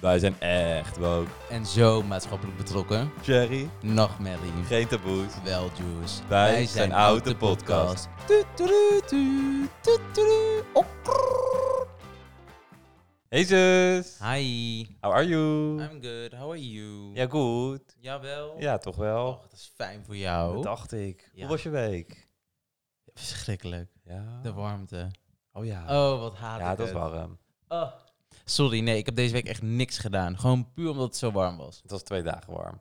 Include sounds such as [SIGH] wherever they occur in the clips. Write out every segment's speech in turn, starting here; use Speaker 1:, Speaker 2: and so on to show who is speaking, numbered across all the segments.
Speaker 1: Wij zijn echt woke.
Speaker 2: En zo maatschappelijk betrokken.
Speaker 1: Jerry,
Speaker 2: Nachtmerrie.
Speaker 1: geen taboes.
Speaker 2: Wel, Juice.
Speaker 1: Wij zijn Oud, de podcast.
Speaker 2: Tuturutu, tuturu, okkrrr.
Speaker 1: Hey zus,
Speaker 2: Hi,
Speaker 1: how are you?
Speaker 2: I'm good. How are you?
Speaker 1: Ja, goed.
Speaker 2: Jawel.
Speaker 1: Ja, toch wel.
Speaker 2: Och, dat is fijn voor
Speaker 1: Dat
Speaker 2: jou.
Speaker 1: dacht ik.
Speaker 2: Oh. Ja.
Speaker 1: Hoe was je week?
Speaker 2: Verschrikkelijk.
Speaker 1: Ja.
Speaker 2: De warmte.
Speaker 1: Oh ja.
Speaker 2: Oh, wat haat
Speaker 1: ja,
Speaker 2: ik
Speaker 1: dat was ehm,
Speaker 2: het.
Speaker 1: warm.
Speaker 2: Oh. Sorry, nee, ik heb deze week echt niks gedaan. Gewoon puur omdat het zo warm was.
Speaker 1: Het was twee dagen warm.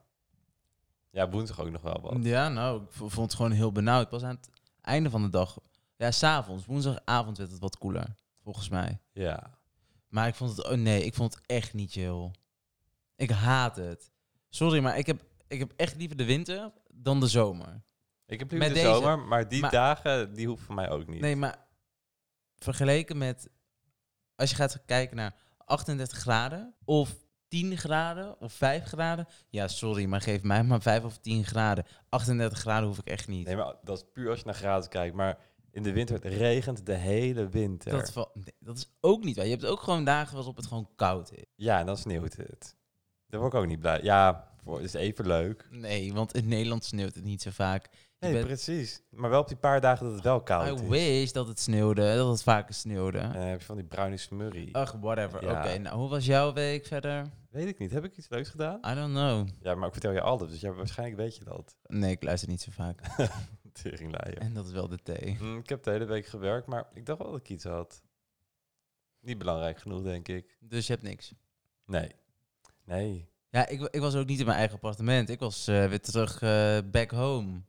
Speaker 1: Ja, woensdag ook nog wel wat.
Speaker 2: Ja, nou, ik v- vond het gewoon heel benauwd. Pas aan het einde van de dag, ja, s'avonds, woensdagavond werd het wat koeler, volgens mij.
Speaker 1: Ja.
Speaker 2: Maar ik vond het, oh nee, ik vond het echt niet chill. Ik haat het. Sorry, maar ik heb, ik heb echt liever de winter dan de zomer.
Speaker 1: Ik heb liever de
Speaker 2: Met deze.
Speaker 1: zomer, maar die
Speaker 2: Maar-
Speaker 1: dagen, die hoeven voor mij ook niet.
Speaker 2: Nee, maar vergeleken met, als je gaat kijken naar 38 graden of 10 graden of 5 graden. Ja, sorry, maar geef mij maar 5 of 10 graden. 38 graden hoef ik echt niet.
Speaker 1: Nee, maar dat is puur als je naar graden kijkt. Maar in de winter, het regent de hele winter.
Speaker 2: Dat, val- nee, dat is ook niet waar. Je hebt ook gewoon dagen waarop het gewoon koud is.
Speaker 1: Ja, en dan sneeuwt het. Daar word ik ook niet blij. Ja, voor, is even leuk.
Speaker 2: Nee, want in Nederland sneeuwt het niet zo vaak. Je
Speaker 1: Nee,
Speaker 2: bent-
Speaker 1: precies. Maar wel op die paar dagen dat het wel koud
Speaker 2: I
Speaker 1: is.
Speaker 2: wish dat het sneeuwde, dat het vaker sneeuwde.
Speaker 1: En dan heb je van die bruine smurrie.
Speaker 2: Ach, whatever.
Speaker 1: Ja.
Speaker 2: Oké, nou, hoe was jouw week verder?
Speaker 1: Weet ik niet. Heb ik iets leuks gedaan?
Speaker 2: I don't know.
Speaker 1: Ja, maar ik vertel je alles. Dus ja, waarschijnlijk weet je dat. [LAUGHS]
Speaker 2: Nee, ik luister niet zo vaak.
Speaker 1: Teringlaaier.
Speaker 2: En dat is wel de thee.
Speaker 1: Mm, ik heb de hele week gewerkt, maar ik dacht wel dat ik iets had. Niet belangrijk genoeg, denk ik.
Speaker 2: Dus je hebt niks.
Speaker 1: Nee. Nee.
Speaker 2: Ja, ik, wa- ik was ook niet in mijn eigen appartement. Ik was eh, weer terug eh, back home.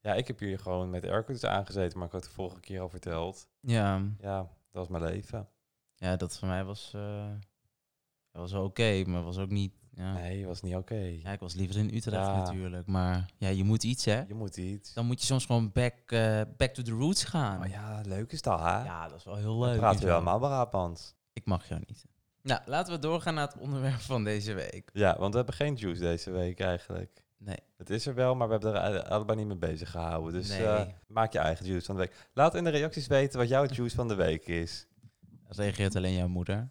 Speaker 1: Ja, ik heb hier gewoon met airconditioning aangezeten, maar ik had het de vorige keer al verteld.
Speaker 2: Ja,
Speaker 1: Ja, dat was mijn leven.
Speaker 2: ja dat voor mij was, eh, was wel oké, maar was ook niet... Ja.
Speaker 1: Nee, was niet oké.
Speaker 2: ja, ik was liever in Utrecht
Speaker 1: Ja.
Speaker 2: natuurlijk. Maar ja, je moet iets, hè?
Speaker 1: Je moet iets.
Speaker 2: Dan moet je soms gewoon back, eh, back to the roots gaan.
Speaker 1: Maar Oh ja, leuk is dat, hè?
Speaker 2: Ja, dat is wel heel
Speaker 1: Dan
Speaker 2: leuk.
Speaker 1: praten
Speaker 2: en
Speaker 1: we
Speaker 2: zo.
Speaker 1: allemaal Brabants.
Speaker 2: Ik mag jou niet. Nou, laten we doorgaan naar het onderwerp van deze week.
Speaker 1: Ja, want we hebben geen juice deze week eigenlijk.
Speaker 2: Nee.
Speaker 1: Het is er wel, maar we hebben er alle- allebei niet mee bezig gehouden. Dus eh,
Speaker 2: Nee.
Speaker 1: maak je eigen juice van de week. Laat in de reacties weten wat jouw juice van de week
Speaker 2: [LAUGHS]
Speaker 1: is. [LAUGHS]
Speaker 2: Reageert alleen jouw moeder.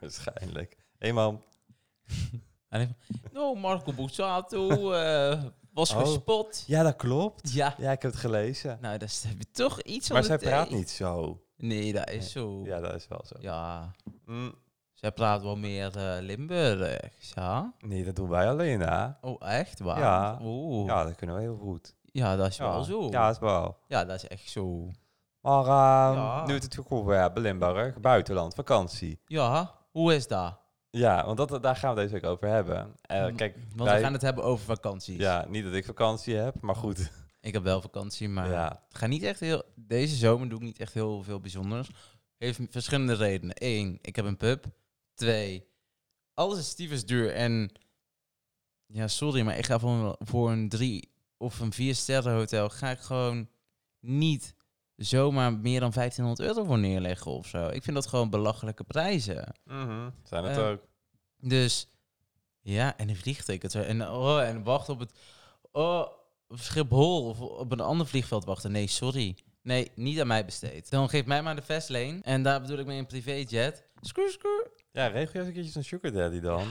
Speaker 1: Waarschijnlijk. Hé man,
Speaker 2: Nou, Marco Bussato eh, was
Speaker 1: Oh.
Speaker 2: gespot.
Speaker 1: ja dat klopt.
Speaker 2: Ja.
Speaker 1: Ja, ik heb het gelezen.
Speaker 2: Nou, daar heb je toch iets van
Speaker 1: Maar
Speaker 2: de
Speaker 1: zij
Speaker 2: thee.
Speaker 1: praat niet zo.
Speaker 2: Nee, dat
Speaker 1: Nee.
Speaker 2: is zo. eh, Ja.
Speaker 1: Ja, dat is wel zo. Mm,
Speaker 2: Zij praat wel meer eh, Limburgs, ja.
Speaker 1: nee, dat doen wij alleen, hè?
Speaker 2: Oh, echt waar?
Speaker 1: Ja.
Speaker 2: Oeh. Ja.
Speaker 1: Ja, dat kunnen we heel goed.
Speaker 2: dat is
Speaker 1: Ja,
Speaker 2: wel zo.
Speaker 1: Ja,
Speaker 2: Ja.
Speaker 1: dat is wel.
Speaker 2: dat is echt zo.
Speaker 1: Maar ehm,
Speaker 2: Ja.
Speaker 1: nu het het onderwerp, Limburg, buitenland, vakantie.
Speaker 2: Ja, hoe is dat?
Speaker 1: Ja, want dat, daar gaan we deze week over hebben. Eh,
Speaker 2: Mm,
Speaker 1: kijk,
Speaker 2: Want
Speaker 1: wij-
Speaker 2: we gaan het hebben over vakanties.
Speaker 1: ja, niet dat ik vakantie heb, maar goed.
Speaker 2: Ik heb wel vakantie, maar...
Speaker 1: Ja,
Speaker 2: Ik ga niet echt heel. Deze zomer doe ik niet echt heel veel bijzonders. Heeft m- verschillende redenen. Eén, ik heb een pub. Twee, alles is tyfus duur. En ja, sorry, maar ik ga voor een, voor een drie of een vier sterren hotel. Ga ik gewoon niet zomaar meer dan 1500 euro voor neerleggen of zo. Ik vind dat gewoon belachelijke prijzen.
Speaker 1: Mhm, zijn het
Speaker 2: Eh,
Speaker 1: ook.
Speaker 2: Dus ja, en een vliegticket. En, oh, en wacht op het. Oh, op Schiphol of op een ander vliegveld wachten. Nee, sorry. Nee, niet aan mij besteed. Dan geef mij maar de Vestlane. En daar bedoel ik mee een privéjet. Screw, screw.
Speaker 1: Ja, regel je eens een keertje zo'n sugar daddy dan.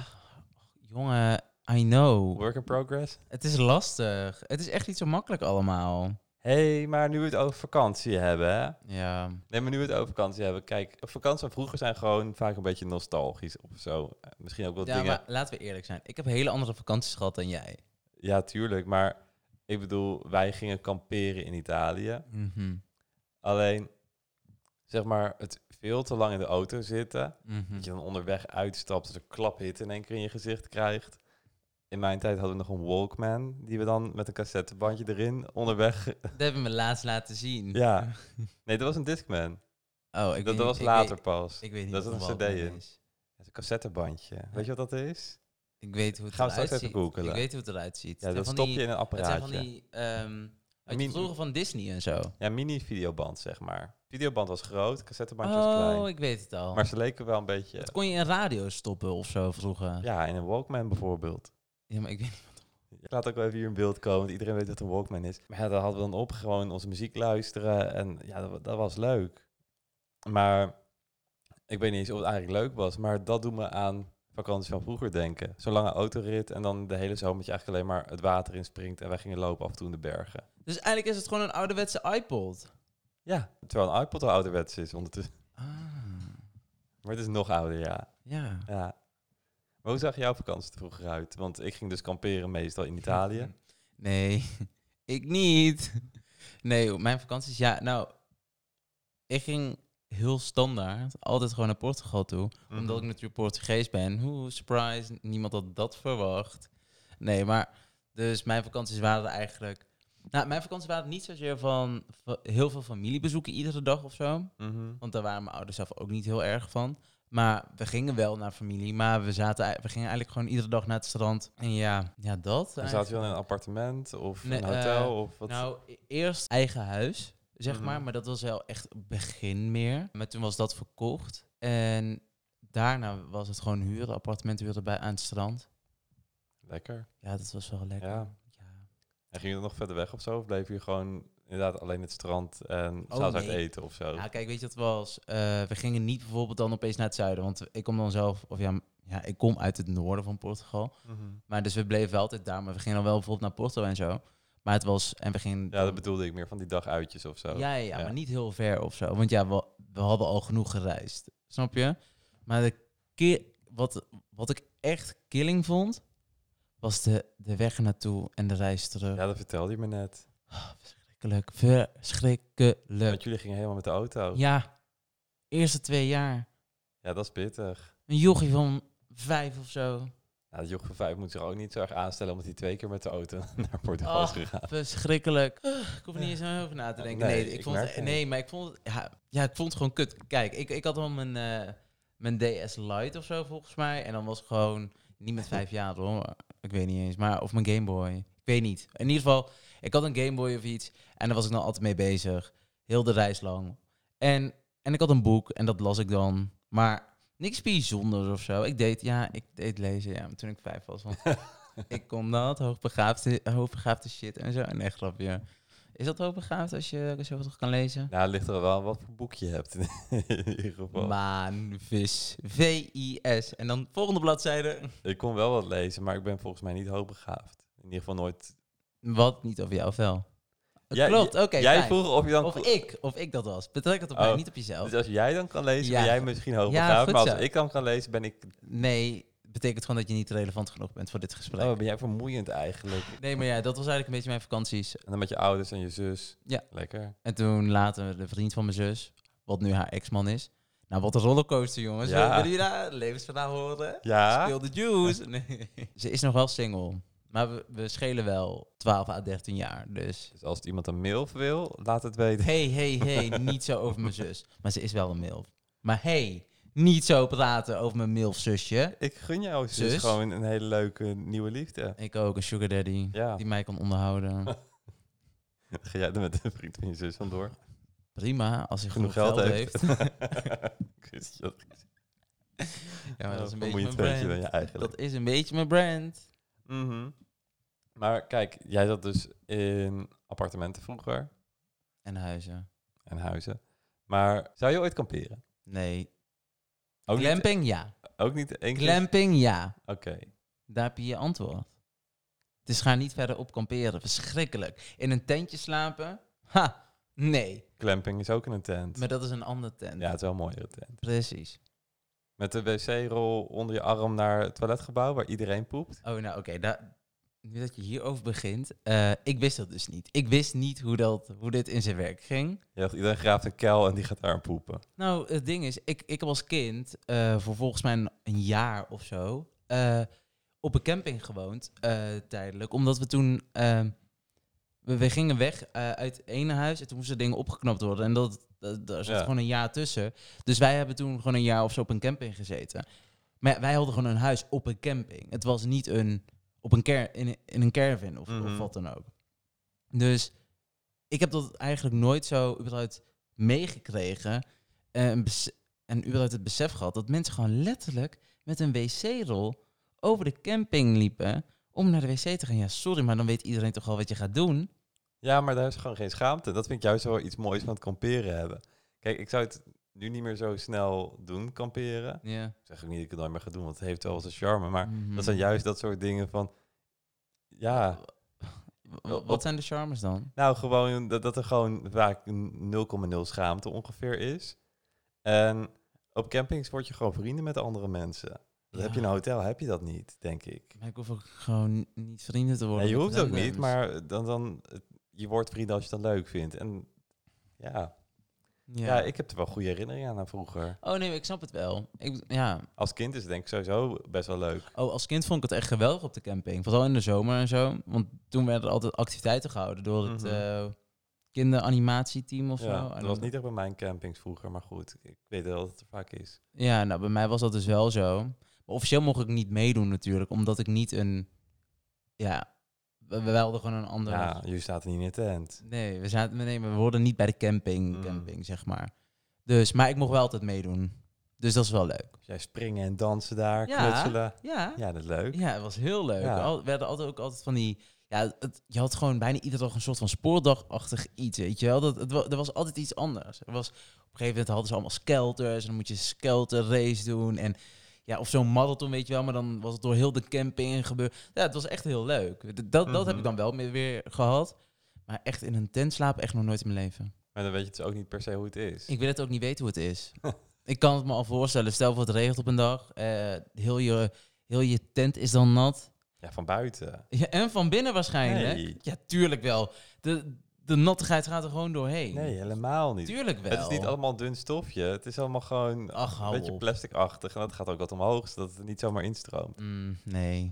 Speaker 2: Jongen, I know.
Speaker 1: Work in progress.
Speaker 2: Het is lastig. Het is echt niet zo makkelijk allemaal.
Speaker 1: Hé, hey, maar nu we het over vakantie hebben, hè?
Speaker 2: Ja.
Speaker 1: Nee, maar nu we het over vakantie hebben. Kijk, vakantie van vroeger zijn gewoon vaak een beetje nostalgisch of zo. Eh, Misschien ook wat
Speaker 2: ja,
Speaker 1: dingen.
Speaker 2: maar laten we eerlijk zijn. Ik heb hele andere vakanties gehad dan jij.
Speaker 1: Ja, tuurlijk. Maar ik bedoel, wij gingen kamperen in Italië.
Speaker 2: Mhm.
Speaker 1: Alleen, zeg maar, het veel te lang in de auto zitten.
Speaker 2: Mhm.
Speaker 1: Dat je dan onderweg uitstapt, dat er klaphitte in één keer in je gezicht krijgt. In mijn tijd hadden we nog een Walkman, die we dan met een cassettebandje erin
Speaker 2: [LAUGHS]
Speaker 1: onderweg...
Speaker 2: Dat hebben we laatst laten zien.
Speaker 1: Ja. Nee, dat was een Discman.
Speaker 2: Oh, ik
Speaker 1: Dat,
Speaker 2: weet
Speaker 1: dat was
Speaker 2: niet- ik
Speaker 1: later
Speaker 2: weet-
Speaker 1: pas.
Speaker 2: ik weet niet
Speaker 1: Dat
Speaker 2: wat
Speaker 1: is
Speaker 2: een
Speaker 1: een cd
Speaker 2: Walkman
Speaker 1: in.
Speaker 2: is.
Speaker 1: Dat is een cassettebandje. Weet je wat dat is?
Speaker 2: Ik weet hoe het
Speaker 1: Gaan we
Speaker 2: eruit
Speaker 1: straks even
Speaker 2: ziet.
Speaker 1: googelen.
Speaker 2: Ik weet hoe het eruit ziet.
Speaker 1: Ja,
Speaker 2: Het
Speaker 1: dat
Speaker 2: zijn
Speaker 1: stop
Speaker 2: van
Speaker 1: je in een
Speaker 2: die- Het zijn van
Speaker 1: apparaatje.
Speaker 2: die... ehm uit
Speaker 1: Min-
Speaker 2: vroeger van Disney en zo.
Speaker 1: Ja, mini-videoband, zeg maar. Videoband was groot, cassettebandje was
Speaker 2: Oh,
Speaker 1: klein.
Speaker 2: ik weet het al.
Speaker 1: Maar ze leken wel een beetje...
Speaker 2: dat kon je in radio stoppen of zo vroeger. Ja,
Speaker 1: Ja, in een Walkman bijvoorbeeld.
Speaker 2: maar ik weet
Speaker 1: Ik laat ook wel even hier in beeld komen, want iedereen weet dat een Walkman is. Maar ja, daar hadden we dan op, gewoon onze muziek luisteren. En ja, dat, wa- dat was leuk. Maar ik weet niet eens of het eigenlijk leuk was, maar dat doet me aan vakantie van vroeger denken. Zo'n lange autorit en dan de hele zomer dat je eigenlijk alleen maar het water inspringt. En wij gingen lopen af en toe in de bergen.
Speaker 2: Dus eigenlijk is het gewoon een ouderwetse iPod.
Speaker 1: Ja, terwijl een iPod al ouderwets is ondertussen. [LAUGHS]
Speaker 2: Ah,
Speaker 1: Maar het is nog ouder, ja.
Speaker 2: ja.
Speaker 1: ja. Maar hoe zag jouw vakantie er vroeger uit? Want ik ging dus kamperen meestal
Speaker 2: [LAUGHS]
Speaker 1: in Italië.
Speaker 2: Nee, [LAUGHS] ik niet. Nee, mijn vakanties, ja, nou, ik ging heel standaard altijd gewoon naar Portugal toe. Omdat ik
Speaker 1: Mhm.
Speaker 2: natuurlijk Portugees ben. Hoe surprise, niemand had dat verwacht. Nee, maar dus mijn vakanties waren er eigenlijk. Nou, mijn vakanties waren niet zozeer van va- heel veel familiebezoeken iedere dag of zo.
Speaker 1: Mhm.
Speaker 2: Want daar waren mijn ouders zelf ook niet heel erg van. Maar we gingen wel naar familie, maar we, zaten, ei- we gingen eigenlijk gewoon iedere dag naar het strand. En ja, ja dat.
Speaker 1: En
Speaker 2: eigenlijk.
Speaker 1: Zaten we dan in een appartement of
Speaker 2: Nee,
Speaker 1: een hotel?
Speaker 2: eh,
Speaker 1: of wat?
Speaker 2: Nou, e- eerst eigen huis, zeg
Speaker 1: Mhm.
Speaker 2: maar. Maar dat was wel echt het begin meer. Maar toen was dat verkocht. En daarna was het gewoon huren, appartement huren bij, aan het strand.
Speaker 1: Lekker.
Speaker 2: Ja, dat was wel lekker.
Speaker 1: Ja.
Speaker 2: Ja.
Speaker 1: En ging je dan nog verder weg of zo? Of bleef je gewoon inderdaad alleen het strand en
Speaker 2: Oh,
Speaker 1: zelfs uit
Speaker 2: nee.
Speaker 1: eten of zo?
Speaker 2: Ja, kijk, weet je wat het was? Eh, we gingen niet bijvoorbeeld dan opeens naar het zuiden. Want ik kom dan zelf, of ja, m- ja, ik kom uit het noorden van Portugal.
Speaker 1: Mhm.
Speaker 2: Maar dus we bleven wel altijd daar. Maar we gingen dan wel bijvoorbeeld naar Porto en zo. Maar het was, en we gingen...
Speaker 1: Ja, dat
Speaker 2: dan-
Speaker 1: bedoelde ik meer van die daguitjes of zo.
Speaker 2: Ja, ja, ja,
Speaker 1: Ja.
Speaker 2: maar niet heel ver of zo. Want ja, we, we hadden al genoeg gereisd. Snap je? Maar de ki- wat, wat ik echt killing vond, was de, de weg ernaartoe en de reis terug.
Speaker 1: Ja, dat vertelde je me net.
Speaker 2: Verschrikkelijk. Verschrikkelijk.
Speaker 1: Want jullie gingen helemaal met de auto. Ja,
Speaker 2: Ja, eerste twee jaar.
Speaker 1: dat is pittig.
Speaker 2: Een jochie van vijf of zo.
Speaker 1: Nou, dat joch van vijf moet zich ook niet zo erg aanstellen... omdat hij twee keer met de auto [LAUGHS] naar Portugal is
Speaker 2: Oh.
Speaker 1: gegaan.
Speaker 2: Verschrikkelijk. Ugh, ik hoef er niet eens aan over na te denken.
Speaker 1: Nee,
Speaker 2: Nee,
Speaker 1: ik
Speaker 2: ik vond
Speaker 1: merk
Speaker 2: het,
Speaker 1: het.
Speaker 2: nee maar ik vond het... Ja, ja, ik vond het gewoon kut. Kijk, ik, ik had al mijn, eh, mijn DS Lite of zo, volgens mij. En dan was het gewoon... Niet met vijf jaar, hoor. maar Ik weet niet eens. Maar, of mijn Game Boy. Ik weet niet. In ieder geval, ik had een Game Boy of iets. En daar was ik dan altijd mee bezig. Heel de reis lang. En, en ik had een boek. En dat las ik dan. Maar niks bijzonders of zo. Ik deed, ja, ik deed lezen, ja, toen ik vijf
Speaker 1: [LAUGHS]
Speaker 2: was. Want ik kon dat, hoogbegaafde, hoogbegaafde shit en zo. Nee, grapje. Is dat hoogbegaafd als je zo toch kan lezen?
Speaker 1: Nou, het ligt er wel aan wat voor boek je hebt in [LAUGHS] ieder geval.
Speaker 2: Maanvis. V-I-S. En dan volgende bladzijde.
Speaker 1: Ik kon wel wat lezen, maar ik ben volgens mij niet hoogbegaafd. In ieder geval nooit...
Speaker 2: Wat niet over jou of wel?
Speaker 1: Jij-
Speaker 2: Klopt, oké.
Speaker 1: jij
Speaker 2: fijn.
Speaker 1: vroeg of je dan...
Speaker 2: Of ik, of ik dat was. Betrek het op
Speaker 1: Oh.
Speaker 2: mij, niet op jezelf.
Speaker 1: Dus als jij dan kan lezen,
Speaker 2: Ja.
Speaker 1: ben jij misschien
Speaker 2: Ja,
Speaker 1: hoogbegaafd.
Speaker 2: goed
Speaker 1: maar als
Speaker 2: zo.
Speaker 1: ik dan kan lezen, ben ik...
Speaker 2: Nee, betekent gewoon dat je niet relevant genoeg bent voor dit gesprek.
Speaker 1: Oh, ben jij vermoeiend eigenlijk.
Speaker 2: Nee, maar ja, dat was eigenlijk een beetje mijn vakanties.
Speaker 1: En dan met je ouders en je zus.
Speaker 2: Ja.
Speaker 1: Lekker.
Speaker 2: En toen later de vriend van mijn zus, wat nu haar ex-man is. Nou, wat een rollercoaster, jongens.
Speaker 1: Ja.
Speaker 2: Willen jullie daar het levensverhaal horen?
Speaker 1: Ja.
Speaker 2: Speel de juice. [LAUGHS] Nee. Ze is nog wel single. Maar we, we schelen wel 12 à 13 jaar. Dus
Speaker 1: Dus als iemand een mail wil, laat het weten.
Speaker 2: hey, hey, [LAUGHS] hey, niet zo over mijn zus. Maar ze is wel een milf. Maar hey, niet zo praten over mijn milf zusje.
Speaker 1: Ik gun jouw zus,
Speaker 2: Zus?
Speaker 1: gewoon een hele leuke nieuwe liefde.
Speaker 2: Ik ook, een sugar daddy.
Speaker 1: Ja, [LAUGHS]
Speaker 2: Die mij kan [LAUGHS] onderhouden.
Speaker 1: ga jij er met een vriend van je zus vandoor.
Speaker 2: Prima, als hij
Speaker 1: Genoeg
Speaker 2: genoeg,
Speaker 1: geld
Speaker 2: geld
Speaker 1: heeft.
Speaker 2: heeft.
Speaker 1: [LAUGHS] Ik wist dat je dat
Speaker 2: Ja, maar dat is een beetje
Speaker 1: vermoeiend
Speaker 2: mijn
Speaker 1: ventje ben
Speaker 2: brand.
Speaker 1: je eigenlijk.
Speaker 2: Dat is een beetje mijn brand.
Speaker 1: Mhm. Maar kijk, jij zat dus in appartementen vroeger
Speaker 2: En huizen.
Speaker 1: en huizen. Maar zou je ooit kamperen?
Speaker 2: Nee.
Speaker 1: Ook niet,
Speaker 2: Glamping, ja.
Speaker 1: ook niet één keer?
Speaker 2: Glamping, ja.
Speaker 1: Oké.
Speaker 2: Daar heb je je antwoord. Dus ga niet verder op kamperen. Verschrikkelijk. In een tentje slapen? Ha, nee.
Speaker 1: Clamping is ook in een tent.
Speaker 2: Maar dat is een andere tent.
Speaker 1: Ja, het is wel een mooiere tent.
Speaker 2: Precies.
Speaker 1: Met de wc-rol onder je arm naar het toiletgebouw waar iedereen poept.
Speaker 2: Oh, nou oké. daar- Nu dat je hierover begint. eh, ik wist dat dus niet. Ik wist niet hoe, dat, hoe dit in zijn werk ging.
Speaker 1: Je dacht, iedereen graaft een kuil en die gaat daar poepen.
Speaker 2: Nou, het ding is, ik, ik heb als kind eh, voor volgens mij een, een jaar of zo eh, op een camping gewoond, eh, tijdelijk. Omdat we toen, eh, we, we gingen weg eh, uit het ene huis en toen moesten dingen opgeknapt worden. En dat, dat, daar zat
Speaker 1: Ja.
Speaker 2: gewoon een jaar tussen. Dus wij hebben toen gewoon een jaar of zo op een camping gezeten. Maar ja, wij hadden gewoon een huis op een camping. Het was niet een, op een car in, een- in een caravan of,
Speaker 1: Mhm.
Speaker 2: of wat dan ook. Dus ik heb dat eigenlijk nooit zo überhaupt meegekregen. eh, en bes- en überhaupt het besef gehad dat mensen gewoon letterlijk met een wc-rol over de camping liepen om naar de wc te gaan. Ja, sorry, maar dan weet iedereen toch al wat je gaat doen.
Speaker 1: Ja, maar daar is gewoon geen schaamte. Dat vind ik juist wel iets moois van het kamperen hebben. Kijk, ik zou het nu niet meer zo snel doen, kamperen.
Speaker 2: Ja.
Speaker 1: Ik zeg ook niet dat ik het nooit meer ga doen, want het heeft wel zijn charme. Maar
Speaker 2: Mhm.
Speaker 1: dat zijn juist dat soort dingen van... Ja,
Speaker 2: W- w- Wat zijn de charmes dan?
Speaker 1: nou gewoon dat, dat er gewoon vaak een 0,0 schaamte ongeveer is. En op campings word je gewoon vrienden met andere mensen. Dat heb je nou? in een
Speaker 2: Ja.
Speaker 1: hotel, heb je dat niet, denk ik.
Speaker 2: Maar Ik hoef ook gewoon niet vrienden te worden.
Speaker 1: Nee, je
Speaker 2: met
Speaker 1: hoeft ook niet,
Speaker 2: randoms.
Speaker 1: maar eh, dan, dan, je wordt vrienden als je dat leuk vindt. En ja,
Speaker 2: Ja.
Speaker 1: ja. ik heb er wel goede herinneringen aan, aan vroeger.
Speaker 2: Oh nee, maar ik snap het wel. Ik, ja.
Speaker 1: Als kind is het denk ik sowieso best wel leuk.
Speaker 2: Oh, als kind vond ik het echt geweldig op de camping. Vooral in de zomer en zo. Want toen werden er altijd activiteiten gehouden door het
Speaker 1: Mhm.
Speaker 2: eh, kinderanimatieteam of
Speaker 1: Ja,
Speaker 2: zo. En
Speaker 1: dat was niet echt bij mijn campings vroeger, maar goed, ik weet wel dat het er vaak is.
Speaker 2: Ja, nou bij mij was dat dus wel zo. Maar officieel mocht ik niet meedoen natuurlijk, omdat ik niet een... Ja, we, we hadden gewoon een ander...
Speaker 1: Ja, jullie zaten niet in de tent.
Speaker 2: Nee, we zaten, nee, we hoorden niet bij de camping,
Speaker 1: Mm.
Speaker 2: camping zeg maar. Dus, maar ik mocht wel altijd meedoen. Dus dat is wel leuk.
Speaker 1: Dus jij springen en dansen daar,
Speaker 2: Ja.
Speaker 1: knutselen.
Speaker 2: Ja, ja.
Speaker 1: Ja, dat is leuk.
Speaker 2: het was heel leuk.
Speaker 1: Ja.
Speaker 2: Al, we hadden altijd ook altijd van die... Ja, het- je had gewoon bijna iedere dag een soort van spoordagachtig iets, weet je wel. Dat, het, wa- er was altijd iets anders. Er was, op een gegeven moment hadden ze allemaal skelters. En dan moet je skelter race doen. En ja, of zo'n marathon, weet je wel. Maar dan was het door heel de camping gebeurd. Ja, het was echt heel leuk. D- Dat, dat heb
Speaker 1: Mhm.
Speaker 2: ik dan wel meer weer gehad. Maar echt in een tent slapen, echt nog nooit in mijn leven.
Speaker 1: Maar dan weet je dus ook niet per se hoe het is.
Speaker 2: Ik wil het ook niet weten hoe het
Speaker 1: [LAUGHS]
Speaker 2: is. ik kan het me al voorstellen. Stel voor het regent op een dag. eh, heel, je, heel je tent is dan nat.
Speaker 1: Ja, van buiten.
Speaker 2: Ja, en van binnen waarschijnlijk.
Speaker 1: Nee.
Speaker 2: Ja, tuurlijk wel. De, de nattigheid gaat er gewoon doorheen.
Speaker 1: Nee, helemaal niet.
Speaker 2: Tuurlijk wel.
Speaker 1: Het is niet allemaal dun stofje. Het is allemaal gewoon
Speaker 2: Ach,
Speaker 1: een
Speaker 2: hou
Speaker 1: beetje
Speaker 2: op.
Speaker 1: plasticachtig. En dat gaat ook wat omhoog, zodat het er niet zomaar instroomt.
Speaker 2: Mm, nee.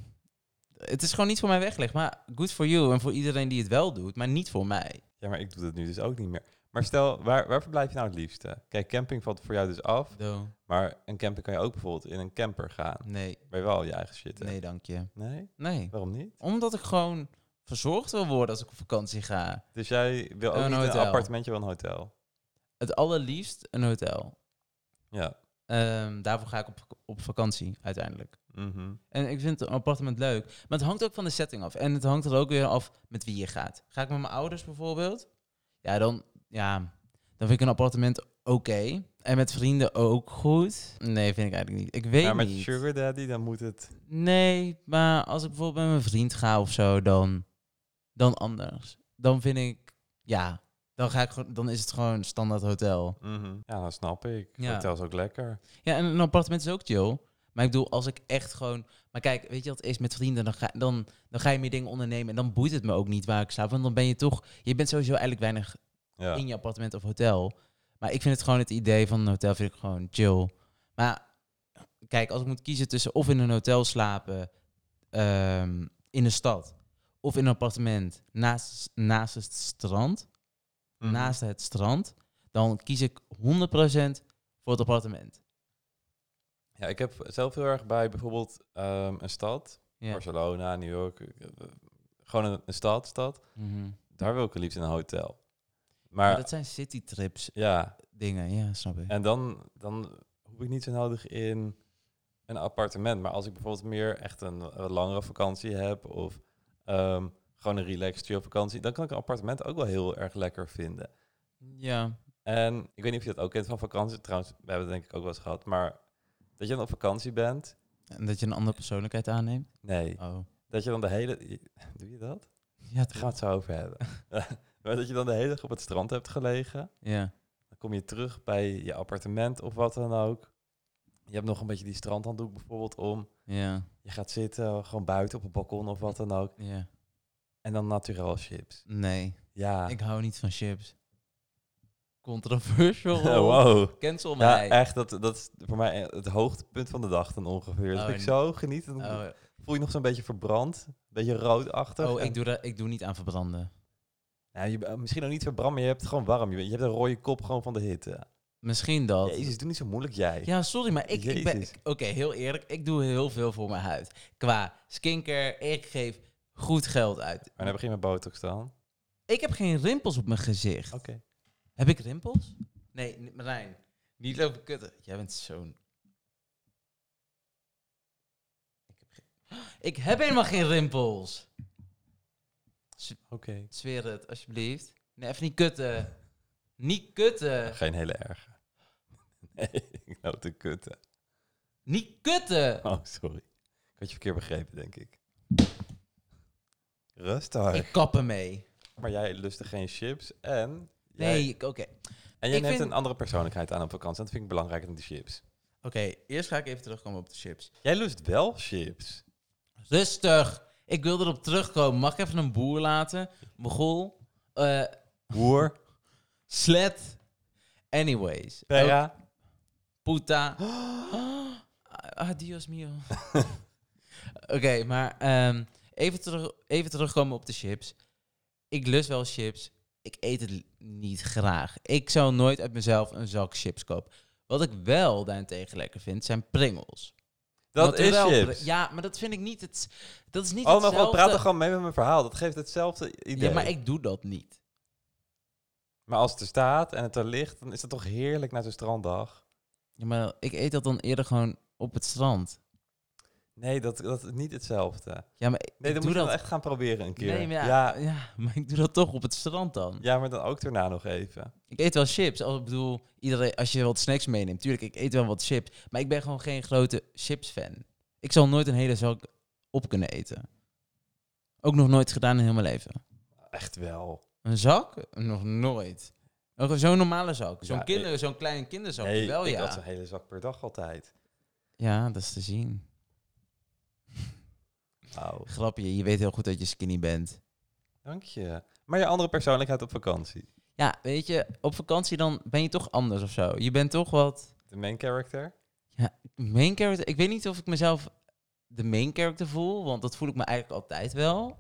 Speaker 2: Het is gewoon niet voor mij weggelegd. Maar good for you en voor iedereen die het wel doet. Maar niet voor mij.
Speaker 1: Ja, maar ik doe dat nu dus ook niet meer. Maar stel, waar, waar verblijf je nou het liefste? Kijk, camping valt voor jou dus af.
Speaker 2: Do.
Speaker 1: Maar een camping kan je ook bijvoorbeeld in een camper gaan.
Speaker 2: Nee,
Speaker 1: Waar je wel je eigen shit hebt.
Speaker 2: nee dank je.
Speaker 1: Nee?
Speaker 2: Nee.
Speaker 1: Waarom niet?
Speaker 2: Omdat ik gewoon verzorgd wil worden als ik op vakantie ga.
Speaker 1: Dus jij wil ook
Speaker 2: Een
Speaker 1: niet
Speaker 2: hotel.
Speaker 1: een appartementje van een hotel?
Speaker 2: Het allerliefst een hotel.
Speaker 1: Ja.
Speaker 2: Ehm, daarvoor ga ik op, op vakantie uiteindelijk.
Speaker 1: Mhm.
Speaker 2: En ik vind een appartement leuk. Maar het hangt ook van de setting af. En het hangt er ook weer af met wie je gaat. Ga ik met mijn ouders bijvoorbeeld? Ja, dan, ja, dan vind ik een appartement oké. En met vrienden ook goed. Nee, vind ik eigenlijk niet. Ik weet
Speaker 1: Maar met
Speaker 2: niet.
Speaker 1: Sugar Daddy, dan moet het...
Speaker 2: Nee, maar als ik bijvoorbeeld met mijn vriend ga of zo, dan, dan anders. Dan vind ik, ja, dan, ga ik, gewoon- dan is het gewoon standaard hotel.
Speaker 1: Mhm. Ja, dat snap ik.
Speaker 2: Ja.
Speaker 1: Hotel is ook lekker.
Speaker 2: Ja, en een appartement is ook chill. Maar ik bedoel, als ik echt gewoon... Maar kijk, weet je wat het is met vrienden? Dan ga, dan, dan ga je meer dingen ondernemen. En dan boeit het me ook niet waar ik slaap. Want dan ben je toch... Je bent sowieso eigenlijk weinig
Speaker 1: Ja.
Speaker 2: in je appartement of hotel. Maar ik vind het gewoon het idee van een hotel vind ik gewoon chill. Maar kijk, als ik moet kiezen tussen of in een hotel slapen ehm, in de stad... of in een appartement naast, naast het strand...
Speaker 1: Mhm.
Speaker 2: naast het strand... dan kies ik 100% voor het appartement.
Speaker 1: Ja, ik heb zelf heel erg bij bijvoorbeeld ehm, een stad.
Speaker 2: Ja.
Speaker 1: Barcelona, New York. eh, eh, Gewoon een, een stad, stad.
Speaker 2: Mhm.
Speaker 1: Daar wil ik het liefst in een hotel.
Speaker 2: Maar
Speaker 1: Maar
Speaker 2: dat zijn citytrips
Speaker 1: ja,
Speaker 2: dingen, ja, snap ik.
Speaker 1: en dan, dan hoef ik niet zo nodig in een appartement. Maar als ik bijvoorbeeld meer echt een, eh, langere vakantie heb... of ehm, gewoon een relaxed chill vakantie... dan kan ik een appartement ook wel heel erg lekker vinden.
Speaker 2: Ja,
Speaker 1: En ik weet niet of je dat ook kent van vakantie. Trouwens, we hebben het denk ik ook wel eens gehad. Maar dat je dan op vakantie bent...
Speaker 2: en dat je een andere persoonlijkheid aanneemt.
Speaker 1: Nee,
Speaker 2: Oh.
Speaker 1: dat je dan de hele... Doe je [LAUGHS] dat?
Speaker 2: Ja,
Speaker 1: Daar gaan we het zo over hebben. [LAUGHS] maar dat je dan de hele dag op het strand hebt gelegen.
Speaker 2: ja.
Speaker 1: Dan kom je terug bij je appartement of wat dan ook. Je hebt nog een beetje die strandhanddoek bijvoorbeeld om.
Speaker 2: Ja,
Speaker 1: Je gaat zitten, gewoon buiten op het balkon of wat dan ook.
Speaker 2: ja.
Speaker 1: En dan naturel chips.
Speaker 2: Nee,
Speaker 1: Ja. [LAUGHS]
Speaker 2: ik hou niet van chips.
Speaker 1: [LAUGHS]
Speaker 2: Controversial.
Speaker 1: wow.
Speaker 2: Cancel
Speaker 1: Ja,
Speaker 2: mij.
Speaker 1: echt, dat, dat is voor mij het hoogtepunt van de dag dan ongeveer.
Speaker 2: Oh,
Speaker 1: Dat vind ik
Speaker 2: en-
Speaker 1: zo genieten. Dan
Speaker 2: Oh,
Speaker 1: voel je nog zo'n beetje verbrand. Een beetje roodachtig.
Speaker 2: oh,
Speaker 1: En-
Speaker 2: ik, doe dat, ik doe niet aan verbranden.
Speaker 1: nou, je, misschien ook niet verbrand, maar je hebt het gewoon warm. Je, je hebt een rode kop gewoon van de hitte.
Speaker 2: Misschien dat.
Speaker 1: Jezus, doe niet zo moeilijk jij.
Speaker 2: Ja, sorry, maar ik, ik ben...
Speaker 1: Jezus.
Speaker 2: ik- Oké, heel eerlijk. Ik doe heel veel voor mijn huid. Qua skincare, ik geef goed geld uit.
Speaker 1: Maar dan begin je met botox dan.
Speaker 2: Ik heb geen rimpels op mijn gezicht.
Speaker 1: Oké.
Speaker 2: Heb ik rimpels? Nee, n- Marijn. Niet lopen kutten. Jij bent zo'n... Ik heb, geen- [GASPS] ik heb helemaal geen rimpels.
Speaker 1: Oké.
Speaker 2: Zweer het, [LAUGHS] alsjeblieft. Nee, even niet kutten. Niet kutten.
Speaker 1: [LAUGHS] Geen hele erg. ik nou te kutten.
Speaker 2: Niet kutten!
Speaker 1: Oh, sorry. Ik had je verkeerd begrepen, denk ik. Rustig.
Speaker 2: Ik kap ermee.
Speaker 1: Maar jij lustte geen chips en... jij-
Speaker 2: Nee, ik- oké.
Speaker 1: en jij
Speaker 2: ik
Speaker 1: neemt
Speaker 2: vind-
Speaker 1: een andere persoonlijkheid aan op vakantie. En dat vind ik belangrijker dan die chips.
Speaker 2: Oké, eerst ga ik even terugkomen op de chips.
Speaker 1: Jij lust wel chips.
Speaker 2: Rustig! Ik wil erop terugkomen. Mag ik even een boer laten? Mogol? Eh
Speaker 1: Hoer,
Speaker 2: [LAUGHS] slet? Anyways.
Speaker 1: pera.
Speaker 2: [GASPS] Puta. [GASPS] Ah, Adios mio. [LAUGHS] Oké, maar ehm, even, terug, even terugkomen op de chips. Ik lust wel chips. Ik eet het li- niet graag. Ik zou nooit uit mezelf een zak chips kopen. Wat ik wel daarentegen lekker vind, zijn pringels.
Speaker 1: Dat is
Speaker 2: Naturel pri-
Speaker 1: chips.
Speaker 2: Ja, maar dat vind ik niet het... Dat is niet
Speaker 1: Oh, maar
Speaker 2: hetzelfde.
Speaker 1: gewoon praat er gewoon mee met mijn verhaal. Dat geeft hetzelfde idee.
Speaker 2: Ja, maar ik doe dat niet.
Speaker 1: Maar als het er staat en het er ligt, dan is dat toch heerlijk na zo'n stranddag?
Speaker 2: Ja, maar ik eet dat dan eerder gewoon op het strand.
Speaker 1: Nee, dat, dat is niet hetzelfde.
Speaker 2: Ja, maar ik-
Speaker 1: Nee, dan
Speaker 2: ik doe
Speaker 1: moet je
Speaker 2: dat...
Speaker 1: wel echt gaan proberen een keer.
Speaker 2: Nee, maar
Speaker 1: ja.
Speaker 2: ja,
Speaker 1: Ja,
Speaker 2: ja, maar ik doe dat toch op het strand dan.
Speaker 1: maar dan ook daarna nog even.
Speaker 2: Ik eet wel chips. Als, ik bedoel, iedereen, als je wat snacks meeneemt. Tuurlijk, ik eet wel wat chips. Maar ik ben gewoon geen grote chips-fan. Ik zal nooit een hele zak op kunnen eten. Ook nog nooit gedaan in heel mijn leven.
Speaker 1: Echt wel.
Speaker 2: Een zak? Nog nooit. Een- Zo'n normale zak. Zo'n
Speaker 1: Ja,
Speaker 2: kinder, zo'n kleine kinderzak.
Speaker 1: nee,
Speaker 2: wel,
Speaker 1: ik
Speaker 2: ja.
Speaker 1: had zo'n hele zak per dag altijd.
Speaker 2: Ja, dat is te zien.
Speaker 1: Wauw,
Speaker 2: Grapje, je weet heel goed dat je skinny bent.
Speaker 1: dank je. Maar je andere persoonlijkheid op vakantie.
Speaker 2: Ja, weet je, op vakantie dan ben je toch anders of zo. Je bent toch wat...
Speaker 1: De main
Speaker 2: [LAUGHS]
Speaker 1: character.
Speaker 2: main character. Ik weet niet of ik mezelf de main character voel, want dat voel ik me eigenlijk altijd wel.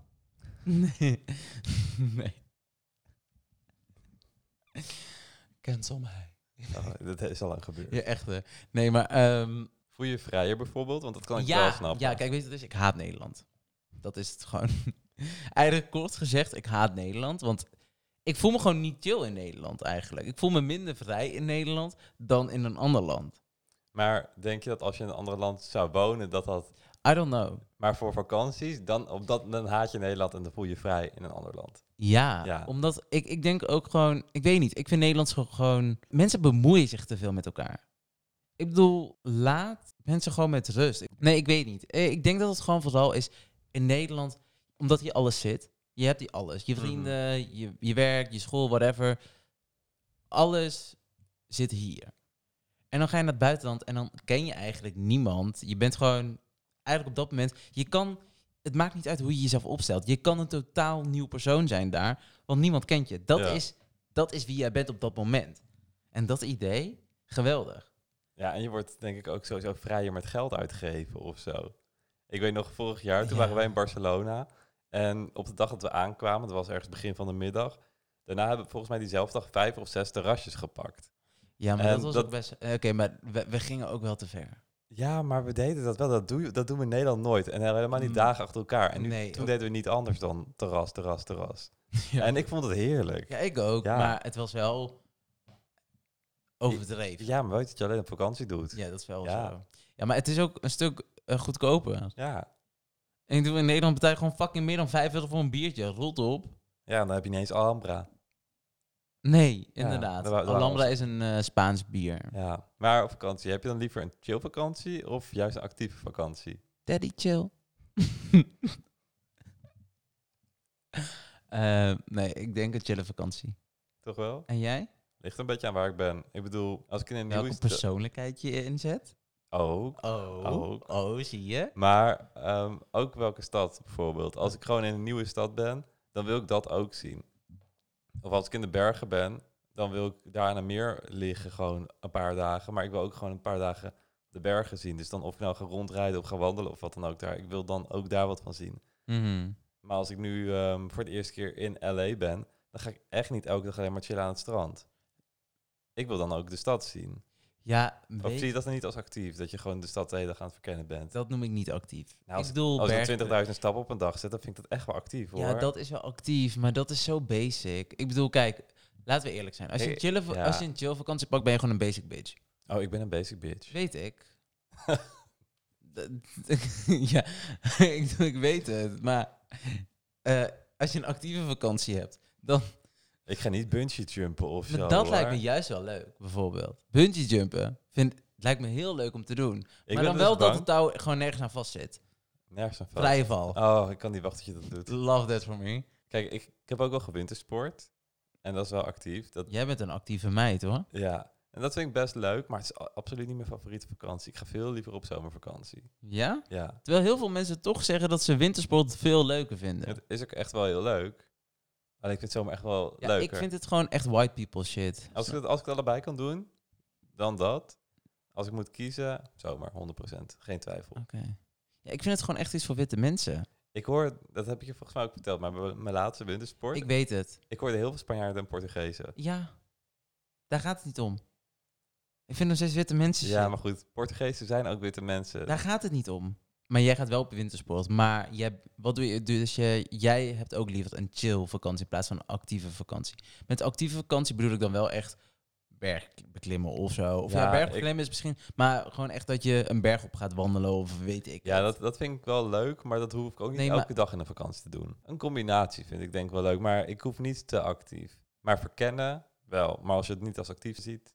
Speaker 2: Nee. [LAUGHS] nee. Cancel mij.
Speaker 1: Oh, dat is al lang gebeurd.
Speaker 2: Ja, echt. hè. Nee, maar. ehm,
Speaker 1: Voel je je vrijer bijvoorbeeld? Want dat kan ik
Speaker 2: ja,
Speaker 1: wel snappen.
Speaker 2: ja, kijk, weet je wat het is? Ik haat Nederland. Dat is het gewoon. [LAUGHS] eigenlijk kort gezegd, ik haat Nederland, want ik voel me gewoon niet chill in Nederland eigenlijk. Ik voel me minder vrij in Nederland dan in een ander land.
Speaker 1: Maar denk je dat als je in een ander land zou wonen, dat dat
Speaker 2: I don't know.
Speaker 1: Maar voor vakanties, dan, op dat, dan haat je Nederland en dan voel je je vrij in een ander land.
Speaker 2: Ja,
Speaker 1: Ja.
Speaker 2: omdat ik, ik denk ook gewoon, ik weet niet, ik vind Nederlands gewoon- gewoon, mensen bemoeien zich te veel met elkaar. Ik bedoel, laat mensen gewoon met rust. Nee, ik weet niet. Eh, Ik denk dat het gewoon vooral is in Nederland, omdat hier alles zit. Je hebt hier alles. Je
Speaker 1: Mhm.
Speaker 2: vrienden, je, je werk, je school, whatever. Alles zit hier. En dan ga je naar het buitenland en dan ken je eigenlijk niemand. Je bent gewoon, eigenlijk op dat moment, je kan, het maakt niet uit hoe je jezelf opstelt. Je kan een totaal nieuw persoon zijn daar, want niemand kent je. Dat,
Speaker 1: Ja.
Speaker 2: is, dat is wie jij bent op dat moment. En dat idee, geweldig.
Speaker 1: Ja, en je wordt denk ik ook sowieso vrijer met geld uitgeven of zo. Ik weet nog, vorig jaar, toen
Speaker 2: Ja.
Speaker 1: waren wij in Barcelona. En op de dag dat we aankwamen, dat was ergens begin van de middag. Daarna hebben we volgens mij diezelfde dag vijf of zes terrasjes gepakt.
Speaker 2: Ja, maar
Speaker 1: En
Speaker 2: dat was
Speaker 1: dat-
Speaker 2: ook best... eh, Oké, maar we, we gingen ook wel te ver.
Speaker 1: Ja, maar we deden dat wel. Dat, doe, je- dat doen we in Nederland nooit. En helemaal niet
Speaker 2: Mm.
Speaker 1: dagen achter elkaar. En nu,
Speaker 2: Nee,
Speaker 1: toen
Speaker 2: ook-
Speaker 1: deden we niet anders dan terras, terras, terras.
Speaker 2: [LAUGHS] Ja.
Speaker 1: En ik vond het heerlijk.
Speaker 2: Ja, ik ook,
Speaker 1: Ja.
Speaker 2: maar het was wel overdreven.
Speaker 1: Ja, maar weet je dat je alleen op vakantie doet?
Speaker 2: Ja, dat is wel
Speaker 1: Ja.
Speaker 2: zo. Ja, maar het is ook een stuk eh, goedkoper.
Speaker 1: Ja.
Speaker 2: En ik doe in Nederland betaal je gewoon fucking meer dan 5 euro voor een biertje. Rot op.
Speaker 1: Ja, dan heb je ineens Alhambra.
Speaker 2: Nee,
Speaker 1: Ja,
Speaker 2: inderdaad.
Speaker 1: dat wa- dat waren
Speaker 2: Alhambra is een eh, Spaans bier.
Speaker 1: Ja, maar op vakantie, heb je dan liever een chill vakantie of juist een actieve vakantie?
Speaker 2: Daddy chill. [LAUGHS] Eh, nee, ik denk een chille vakantie.
Speaker 1: Toch wel?
Speaker 2: En jij?
Speaker 1: Ligt een beetje aan waar ik ben. Ik bedoel, als ik in een nieuwe
Speaker 2: Welke
Speaker 1: stad...
Speaker 2: persoonlijkheid je inzet?
Speaker 1: Ook.
Speaker 2: Oh,
Speaker 1: Ook.
Speaker 2: oh, zie je?
Speaker 1: Maar ehm, ook welke stad bijvoorbeeld. Als ik gewoon in een nieuwe stad ben, dan wil ik dat ook zien. Of als ik in de bergen ben, dan wil ik daar aan een meer liggen gewoon een paar dagen. Maar ik wil ook gewoon een paar dagen de bergen zien. Dus dan of ik nou ga rondrijden of ga wandelen of wat dan ook daar. Ik wil dan ook daar wat van zien.
Speaker 2: Mhm.
Speaker 1: Maar als ik nu ehm, voor de eerste keer in LA ben, dan ga ik echt niet elke dag alleen maar chillen aan het strand. Ik wil dan ook de stad zien.
Speaker 2: Ja,
Speaker 1: Of zie
Speaker 2: weet,
Speaker 1: je dat dan niet als actief, dat je gewoon de stad de hele dag aan het verkennen bent?
Speaker 2: dat noem ik niet actief.
Speaker 1: Nou,
Speaker 2: ik bedoel,
Speaker 1: Als
Speaker 2: berg-
Speaker 1: je 20.000 stappen op een dag zet, dan vind ik dat echt wel actief hoor.
Speaker 2: eh. Ja, dat is wel actief, maar dat is zo basic. Ik bedoel, kijk, laten we eerlijk zijn. Als je een
Speaker 1: Ik-
Speaker 2: chille, va-
Speaker 1: ja.
Speaker 2: als je een chill vakantie pakt, ben je gewoon een basic bitch.
Speaker 1: Oh, ik ben een basic bitch.
Speaker 2: Weet
Speaker 1: [LAUGHS]
Speaker 2: ik. Dat- [LAUGHS] ja, [LAUGHS] ik, ik weet het. Maar eh, als je een actieve vakantie hebt, dan.
Speaker 1: Ik ga niet bungee jumpen of
Speaker 2: Maar
Speaker 1: zo.
Speaker 2: dat lijkt me
Speaker 1: hoor.
Speaker 2: juist wel leuk, bijvoorbeeld. Bungee jumpen. Vind, het lijkt me heel leuk om te doen.
Speaker 1: Ik
Speaker 2: maar
Speaker 1: ben
Speaker 2: dan
Speaker 1: dus
Speaker 2: wel dat
Speaker 1: bang.
Speaker 2: het touw gewoon nergens aan vast zit.
Speaker 1: Nergens aan vast.
Speaker 2: Vrije val.
Speaker 1: Oh, ik kan niet wachten dat je dat doet.
Speaker 2: Love that for me.
Speaker 1: Kijk, ik, ik heb ook wel gewintersport. En dat is wel actief. Dat,
Speaker 2: Jij bent een actieve meid hoor.
Speaker 1: ja. En dat vind ik best leuk, maar het is a- absoluut niet mijn favoriete vakantie. Ik ga veel liever op zomervakantie.
Speaker 2: Ja?
Speaker 1: Ja.
Speaker 2: Terwijl heel veel mensen toch zeggen dat ze wintersport veel leuker vinden.
Speaker 1: Het is ook echt wel heel leuk. Alleen ik vind zomer echt wel
Speaker 2: Ja,
Speaker 1: leuker.
Speaker 2: ik vind het gewoon echt white people shit.
Speaker 1: Als ik, het, als ik het allebei kan doen, dan dat. Als ik moet kiezen, zomaar, 100%. Geen twijfel.
Speaker 2: Oké. Ja, ik vind het gewoon echt iets voor witte mensen.
Speaker 1: Ik hoor, dat heb ik je volgens mij ook verteld, maar bij mijn laatste wintersport.
Speaker 2: Ik
Speaker 1: Ik,
Speaker 2: weet het.
Speaker 1: hoorde heel veel Spanjaarden en Portugezen.
Speaker 2: Ja. Daar gaat het niet om. Ik vind nog steeds witte mensen shit.
Speaker 1: Ja, maar goed, Portugezen zijn ook witte mensen.
Speaker 2: Daar gaat het niet om. Maar jij gaat wel op wintersport. Maar jij, wat doe je? Dus je, jij hebt ook liever een chill vakantie in plaats van een actieve vakantie. Met actieve vakantie bedoel ik dan wel echt bergbeklimmen of zo. Of ja,
Speaker 1: Ja,
Speaker 2: bergbeklimmen is misschien. Maar gewoon echt dat je een berg op gaat wandelen of weet ik.
Speaker 1: Ja,
Speaker 2: het.
Speaker 1: dat, dat vind ik wel leuk, maar dat hoef ik ook niet
Speaker 2: Nee, maar-
Speaker 1: elke dag in de vakantie te doen. Een combinatie vind ik denk ik wel leuk, maar ik hoef niet te actief. Maar verkennen wel, maar als je het niet als actief ziet,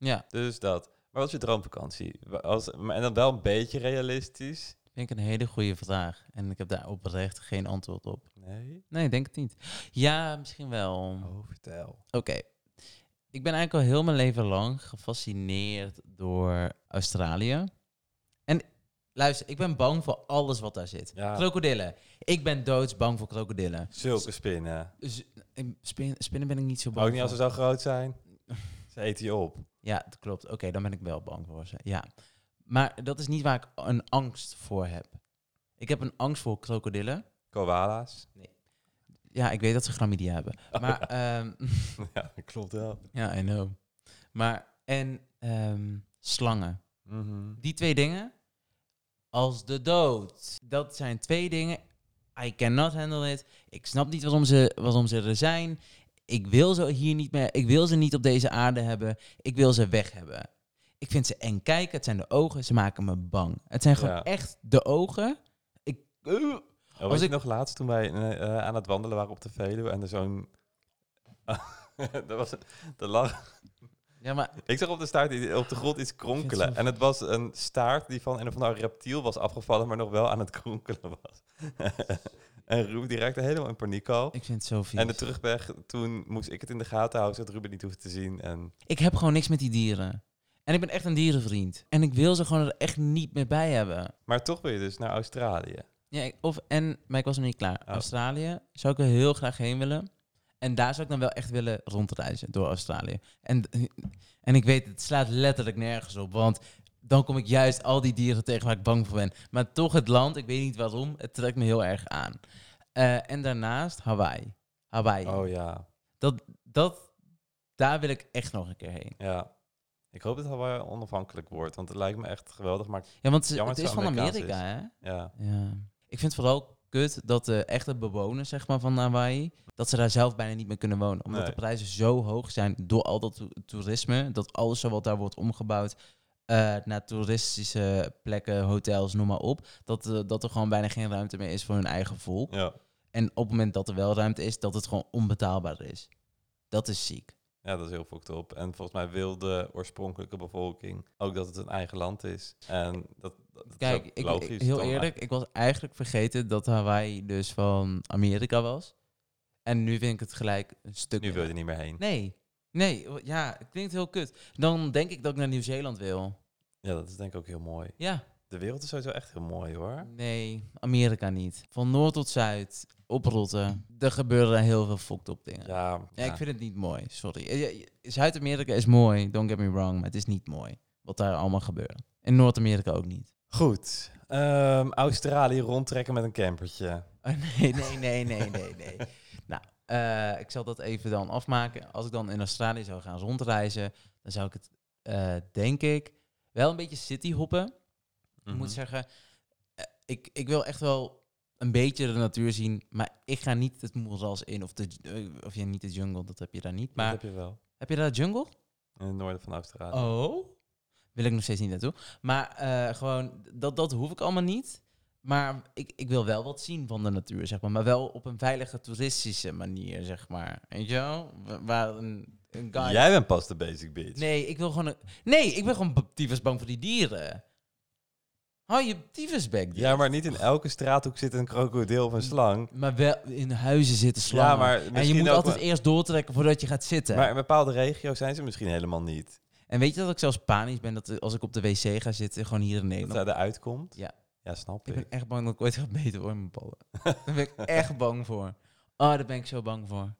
Speaker 2: Ja,
Speaker 1: dus dat. Maar wat is je droomvakantie? Wa- Als, maar- en dan wel een beetje realistisch.
Speaker 2: vind ik een hele goede vraag. En ik heb daar oprecht geen antwoord op.
Speaker 1: Nee.
Speaker 2: Nee, ik denk het niet. Ja, misschien wel.
Speaker 1: Oh, vertel.
Speaker 2: Oké. Ik ben eigenlijk al heel mijn leven lang gefascineerd door Australië. En luister, ik ben bang voor alles wat daar zit.
Speaker 1: Ja.
Speaker 2: Krokodillen. Ik ben doodsbang voor krokodillen.
Speaker 1: Zulke spinnen.
Speaker 2: Dus, eh, spin- spinnen ben ik niet zo bang
Speaker 1: Ook niet als ze
Speaker 2: voor.
Speaker 1: zo groot zijn. Ze eten je op.
Speaker 2: Ja, dat klopt. Oké, dan ben ik wel bang voor ze. Ja. Maar dat is niet waar ik een angst voor heb. Ik heb een angst voor krokodillen.
Speaker 1: Koala's. [LAUGHS]
Speaker 2: Ja, ik weet dat ze chlamydia hebben. maar ehm, [LAUGHS]
Speaker 1: ja, dat klopt wel.
Speaker 2: Ja, I know. Maar, en ehm, slangen.
Speaker 1: Oh,
Speaker 2: Die twee dingen, als de dood. Dat zijn twee dingen. I cannot handle it. Ik snap niet waarom ze, waarom ze er zijn. Ik wil ze hier niet meer. Ik wil ze niet op deze aarde hebben. Ik wil ze weg hebben. Ik vind ze eng kijken. Het zijn de ogen. Ze maken me bang. Het zijn gewoon
Speaker 1: Ja.
Speaker 2: echt de ogen. Ik, eh.
Speaker 1: Oh, was
Speaker 2: ik-
Speaker 1: ik nog laatst toen wij eh, eh, aan het wandelen waren op de Veluwe en er zo'n... [LAUGHS] dat was een, de lach.
Speaker 2: ja, maar
Speaker 1: Ik zag op de, staart, i- op de grond iets kronkelen. En het was een staart die van een of ander reptiel was afgevallen, maar nog wel aan het kronkelen was. [LAUGHS] en Ruben die raakte helemaal in paniek al.
Speaker 2: ik vind het zo vies.
Speaker 1: En de terugweg, toen moest ik het in de gaten houden, zodat Ruben niet hoefde te zien. En
Speaker 2: Ik heb gewoon niks met die dieren. En ik ben echt een dierenvriend. En ik wil ze gewoon er echt niet meer bij hebben.
Speaker 1: Maar toch wil je dus naar Australië.
Speaker 2: Ja, ik- of, en, maar ik was nog niet klaar.
Speaker 1: Oh.
Speaker 2: Australië zou ik er heel graag heen willen. En daar zou ik dan wel echt willen rondreizen door Australië. En, en ik weet, het slaat letterlijk nergens op. Want dan kom ik juist al die dieren tegen waar ik bang voor ben. Maar toch het land, ik weet niet waarom, het trekt me heel erg aan. Eh, en daarnaast Hawaii. Hawaii.
Speaker 1: Oh ja,
Speaker 2: Dat, dat, daar wil ik echt nog een keer heen.
Speaker 1: ja. Ik hoop dat Hawaii onafhankelijk wordt, want het lijkt me echt geweldig. Maar
Speaker 2: Ja, want ze-
Speaker 1: Jammer
Speaker 2: het
Speaker 1: dat ze
Speaker 2: is van
Speaker 1: Amerikaans
Speaker 2: Amerika, hè?
Speaker 1: ja,
Speaker 2: Ja. Ik vind het vooral kut dat de echte bewoners zeg maar, van Hawaii... dat ze daar zelf bijna niet meer kunnen wonen. Omdat
Speaker 1: Nee.
Speaker 2: de prijzen zo hoog zijn door al dat to- toerisme... dat alles zo wat daar wordt omgebouwd... eh, naar toeristische plekken, hotels, noem maar op... Dat, eh, dat er gewoon bijna geen ruimte meer is voor hun eigen volk.
Speaker 1: ja.
Speaker 2: En op het moment dat er wel ruimte is... dat het gewoon onbetaalbaar is. Dat is ziek.
Speaker 1: ja, dat is heel fucked op. En volgens mij wil de oorspronkelijke bevolking ook dat het een eigen land is. En dat, dat, dat
Speaker 2: Kijk,
Speaker 1: is ook
Speaker 2: ik,
Speaker 1: logisch.
Speaker 2: ik- heel
Speaker 1: toch?
Speaker 2: eerlijk, ik was eigenlijk vergeten dat Hawaii dus van Amerika was. En nu vind ik het gelijk een stuk
Speaker 1: Nu wil je
Speaker 2: minder.
Speaker 1: er niet meer heen.
Speaker 2: Nee, nee, w- ja, het klinkt heel kut. Dan denk ik dat ik naar Nieuw-Zeeland wil.
Speaker 1: Ja, dat is denk ik ook heel mooi.
Speaker 2: Ja,
Speaker 1: De wereld is sowieso echt heel mooi hoor.
Speaker 2: nee, Amerika niet. Van noord tot zuid, oprotten. Er gebeuren heel veel fucked op dingen. Ja,
Speaker 1: Ja, ja,
Speaker 2: ik vind het niet mooi, sorry. Eh, ja, ja, Zuid-Amerika is mooi, don't get me wrong, maar het is niet mooi. Wat daar allemaal gebeurt. En Noord-Amerika ook niet.
Speaker 1: Goed. Ehm, Australië rondtrekken met een campertje.
Speaker 2: [LAUGHS]
Speaker 1: Mhm.
Speaker 2: Oh, nee, nee, nee, nee, nee,
Speaker 1: [LAUGHS]
Speaker 2: nee. [LAUGHS] nou, eh, ik zal dat even dan afmaken. Als ik dan in Australië zou gaan rondreizen, dan zou ik het, eh, denk ik, wel een beetje cityhoppen. Ik moet
Speaker 1: Mhm.
Speaker 2: zeggen, eh, ik, ik wil echt wel een beetje de natuur zien, maar ik ga niet het moeras in of, de, eh, of ja, niet de jungle, dat heb je daar niet. Maar
Speaker 1: Dat heb je wel.
Speaker 2: heb je daar jungle?
Speaker 1: In het noorden van Australië.
Speaker 2: Oh. Wil ik nog steeds niet naartoe. Maar eh, gewoon, dat, dat hoef ik allemaal niet. Maar ik, ik wil wel wat zien van de natuur, zeg maar. Maar wel op een veilige toeristische manier, zeg maar. Weet je wel? Wa- Waar een, een guy.
Speaker 1: Jij bent pas de basic bitch.
Speaker 2: Nee, ik wil gewoon een... Nee, ik ben gewoon b- tyfus bang voor die dieren. Hou je tyfusbek. dicht.
Speaker 1: Ja, maar niet in elke straathoek zit een krokodil of een slang.
Speaker 2: Maar wel in huizen zitten slangen.
Speaker 1: Ja, maar
Speaker 2: en je
Speaker 1: misschien
Speaker 2: moet
Speaker 1: ook
Speaker 2: altijd
Speaker 1: wel-
Speaker 2: eerst doortrekken voordat je gaat zitten.
Speaker 1: Maar in bepaalde regio's zijn ze misschien helemaal niet.
Speaker 2: En weet je dat ik zelfs panisch ben dat als ik op de wc ga zitten, gewoon hier in
Speaker 1: Dat
Speaker 2: Nederland.
Speaker 1: zij eruit komt.
Speaker 2: Ja.
Speaker 1: Ja, snap
Speaker 2: Ik
Speaker 1: ik.
Speaker 2: ben echt bang dat ik ooit ga beter worden met mijn
Speaker 1: [LAUGHS]
Speaker 2: ballen. daar ben ik echt bang voor. Ah, daar ben ik zo bang voor.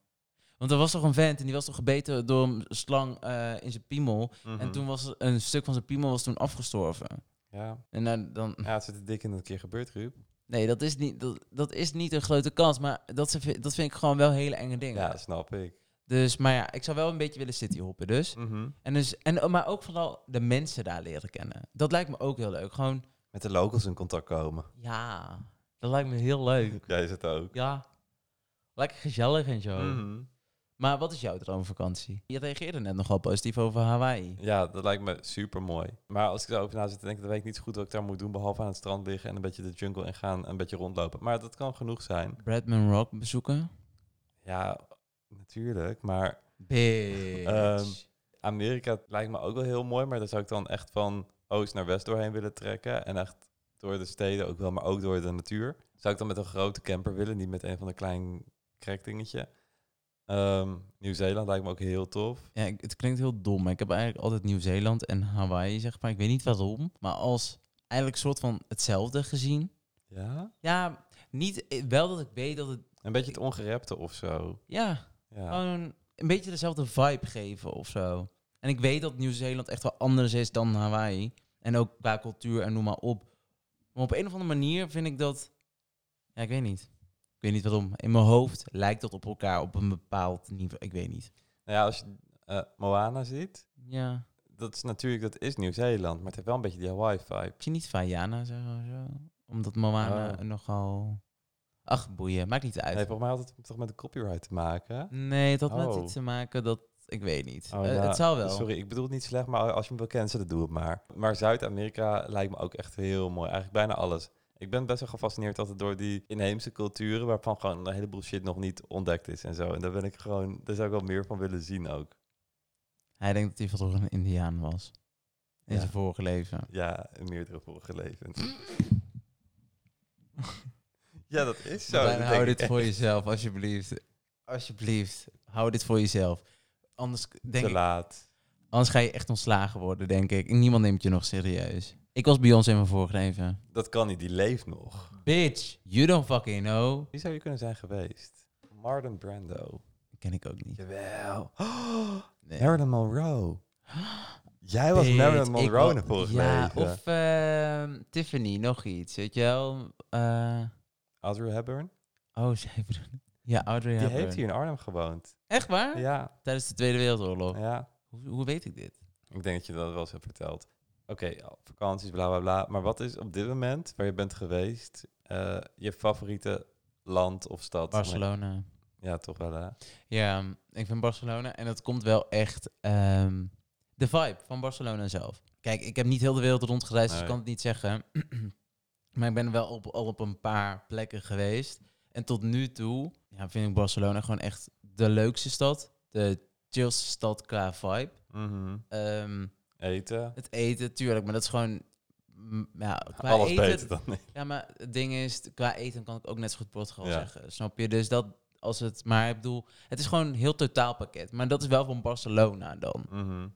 Speaker 2: Want er was toch een vent en die was toch gebeten door een slang eh, in zijn piemel. En
Speaker 1: Mhm.
Speaker 2: toen was er- een stuk van zijn piemel was toen afgestorven.
Speaker 1: Ja.
Speaker 2: En dan, dan
Speaker 1: ja, het zit er dik in dat een keer gebeurt, Ruud.
Speaker 2: nee, dat is, niet, dat, dat is niet een grote kans. Maar dat, ze- dat vind ik gewoon wel hele enge dingen.
Speaker 1: Ja, snap ik.
Speaker 2: Dus, maar ja, ik zou wel een beetje willen cityhoppen dus.
Speaker 1: Mhm.
Speaker 2: En dus en, maar ook vooral de mensen daar leren kennen. Dat lijkt me ook heel leuk. Gewoon,
Speaker 1: Met de locals in contact komen.
Speaker 2: ja, dat lijkt me heel leuk.
Speaker 1: Jij is het ook.
Speaker 2: Ja, lekker gezellig en zo.
Speaker 1: Mhm.
Speaker 2: Maar wat is jouw droomvakantie? Je reageerde net nogal positief over Hawaii.
Speaker 1: Ja, dat lijkt me super mooi. Maar als ik daarover na zit, dan denk ik, dat weet ik niet zo goed wat ik daar moet doen. Behalve aan het strand liggen en een beetje de jungle in gaan en een beetje rondlopen. Maar dat kan genoeg zijn.
Speaker 2: Bradman Rock bezoeken?
Speaker 1: Ja, natuurlijk. Maar
Speaker 2: Bitch.
Speaker 1: Ehm, Amerika lijkt me ook wel heel mooi. Maar daar zou ik dan echt van oost naar west doorheen willen trekken. En echt door de steden ook wel, maar ook door de natuur. Zou ik dan met een grote camper willen, niet met een van de klein krekdingetje. Ehm, Nieuw-Zeeland lijkt me ook heel tof.
Speaker 2: ja, ik- het klinkt heel dom, maar ik heb eigenlijk altijd Nieuw-Zeeland en Hawaii, zeg maar. Ik weet niet waarom, maar als eigenlijk soort van hetzelfde gezien.
Speaker 1: Ja?
Speaker 2: Ja, niet, eh, wel dat ik weet dat het,
Speaker 1: Een beetje het ongerepte of zo.
Speaker 2: ja,
Speaker 1: Ja.
Speaker 2: gewoon een beetje dezelfde vibe geven of zo. En ik weet dat Nieuw-Zeeland echt wel anders is dan Hawaii. En ook qua cultuur en noem maar op. Maar op een of andere manier vind ik dat... Ja, ik weet niet. Ik weet niet waarom. In mijn hoofd lijkt dat op elkaar op een bepaald niveau. Ik weet niet.
Speaker 1: Nou ja, als je eh, Moana ziet,
Speaker 2: Ja.
Speaker 1: dat is natuurlijk, dat is Nieuw-Zeeland, maar het heeft wel een beetje die Hawaii-vibe.
Speaker 2: Misschien niet Vajana zeggen of zo. Omdat Moana
Speaker 1: Oh.
Speaker 2: nogal... Ach, boeien. Maakt niet
Speaker 1: Nee,
Speaker 2: uit.
Speaker 1: volgens mij had het toch met de copyright te maken.
Speaker 2: Nee, het had met
Speaker 1: Oh.
Speaker 2: iets te maken dat... Ik weet niet.
Speaker 1: Oh,
Speaker 2: Eh,
Speaker 1: ja.
Speaker 2: het zal wel.
Speaker 1: Sorry, ik bedoel het niet slecht, maar als je me wil cancelen, doe het maar. Maar Zuid-Amerika lijkt me ook echt heel mooi. Eigenlijk bijna alles. Ik ben best wel gefascineerd altijd door die inheemse culturen, waarvan gewoon een heleboel shit nog niet ontdekt is en zo. En daar ben ik gewoon, daar zou ik wel meer van willen zien ook.
Speaker 2: Hij denkt dat hij van vroeger een indiaan was. In
Speaker 1: Ja.
Speaker 2: zijn vorige leven.
Speaker 1: Ja, in meerdere vorige levens. Ja, dat is zo. Dat
Speaker 2: Martijn,
Speaker 1: denk
Speaker 2: hou
Speaker 1: ik
Speaker 2: dit
Speaker 1: echt
Speaker 2: voor jezelf, alsjeblieft. Alsjeblieft, hou dit voor jezelf. Anders, k- denk
Speaker 1: Te
Speaker 2: ik,
Speaker 1: laat.
Speaker 2: anders ga je echt ontslagen worden, denk ik. Niemand neemt je nog serieus. Ik was Beyoncé in mijn vorige leven.
Speaker 1: Dat kan niet, die leeft nog.
Speaker 2: Bitch, you don't fucking know.
Speaker 1: Wie zou je kunnen zijn geweest? Martin Brando.
Speaker 2: Ken ik ook niet.
Speaker 1: Jawel.
Speaker 2: [GASPS] Nee.
Speaker 1: Marilyn
Speaker 2: [GASPS]
Speaker 1: Monroe. Jij was
Speaker 2: Bitch,
Speaker 1: Marilyn
Speaker 2: ik
Speaker 1: Monroe eh.
Speaker 2: wa-
Speaker 1: in het vorige
Speaker 2: ja,
Speaker 1: leven.
Speaker 2: Of ehm, Tiffany, nog iets, weet je wel. Eh,
Speaker 1: Audrey Hepburn.
Speaker 2: oh, [LAUGHS] zij heeft... Ja, Audrey
Speaker 1: Die
Speaker 2: Hepburn.
Speaker 1: heeft hier in Arnhem gewoond.
Speaker 2: Echt waar?
Speaker 1: Ja,
Speaker 2: Tijdens de Tweede Wereldoorlog.
Speaker 1: ja.
Speaker 2: Hoe, hoe weet ik dit?
Speaker 1: Ik denk dat je dat wel eens hebt verteld. Oké, vakanties, bla bla bla. Maar wat is op dit moment, waar je bent geweest, eh, je favoriete land of stad?
Speaker 2: Barcelona.
Speaker 1: Ja, toch wel hè?
Speaker 2: Ja, ik vind Barcelona. En dat komt wel echt ehm, de vibe van Barcelona zelf. Kijk, ik heb niet heel de wereld rondgereisd, dus ik
Speaker 1: Nee.
Speaker 2: kan het niet zeggen. [CLEARS THROAT] maar ik ben wel op, al op een paar plekken geweest. En tot nu toe ja, vind ik Barcelona gewoon echt de leukste stad. De chillste stad qua vibe.
Speaker 1: Mhm.
Speaker 2: Ehm,
Speaker 1: Eten.
Speaker 2: het eten, tuurlijk, maar dat is gewoon... mm, Ja, qua
Speaker 1: Alles
Speaker 2: eten,
Speaker 1: beter dan ik.
Speaker 2: ja, maar het ding is, qua eten kan ik ook net zo goed Portugal
Speaker 1: Ja.
Speaker 2: zeggen. Snap je? Dus dat als het, maar ik bedoel, het is gewoon een heel totaalpakket. Maar dat is wel van Barcelona dan.
Speaker 1: Mhm.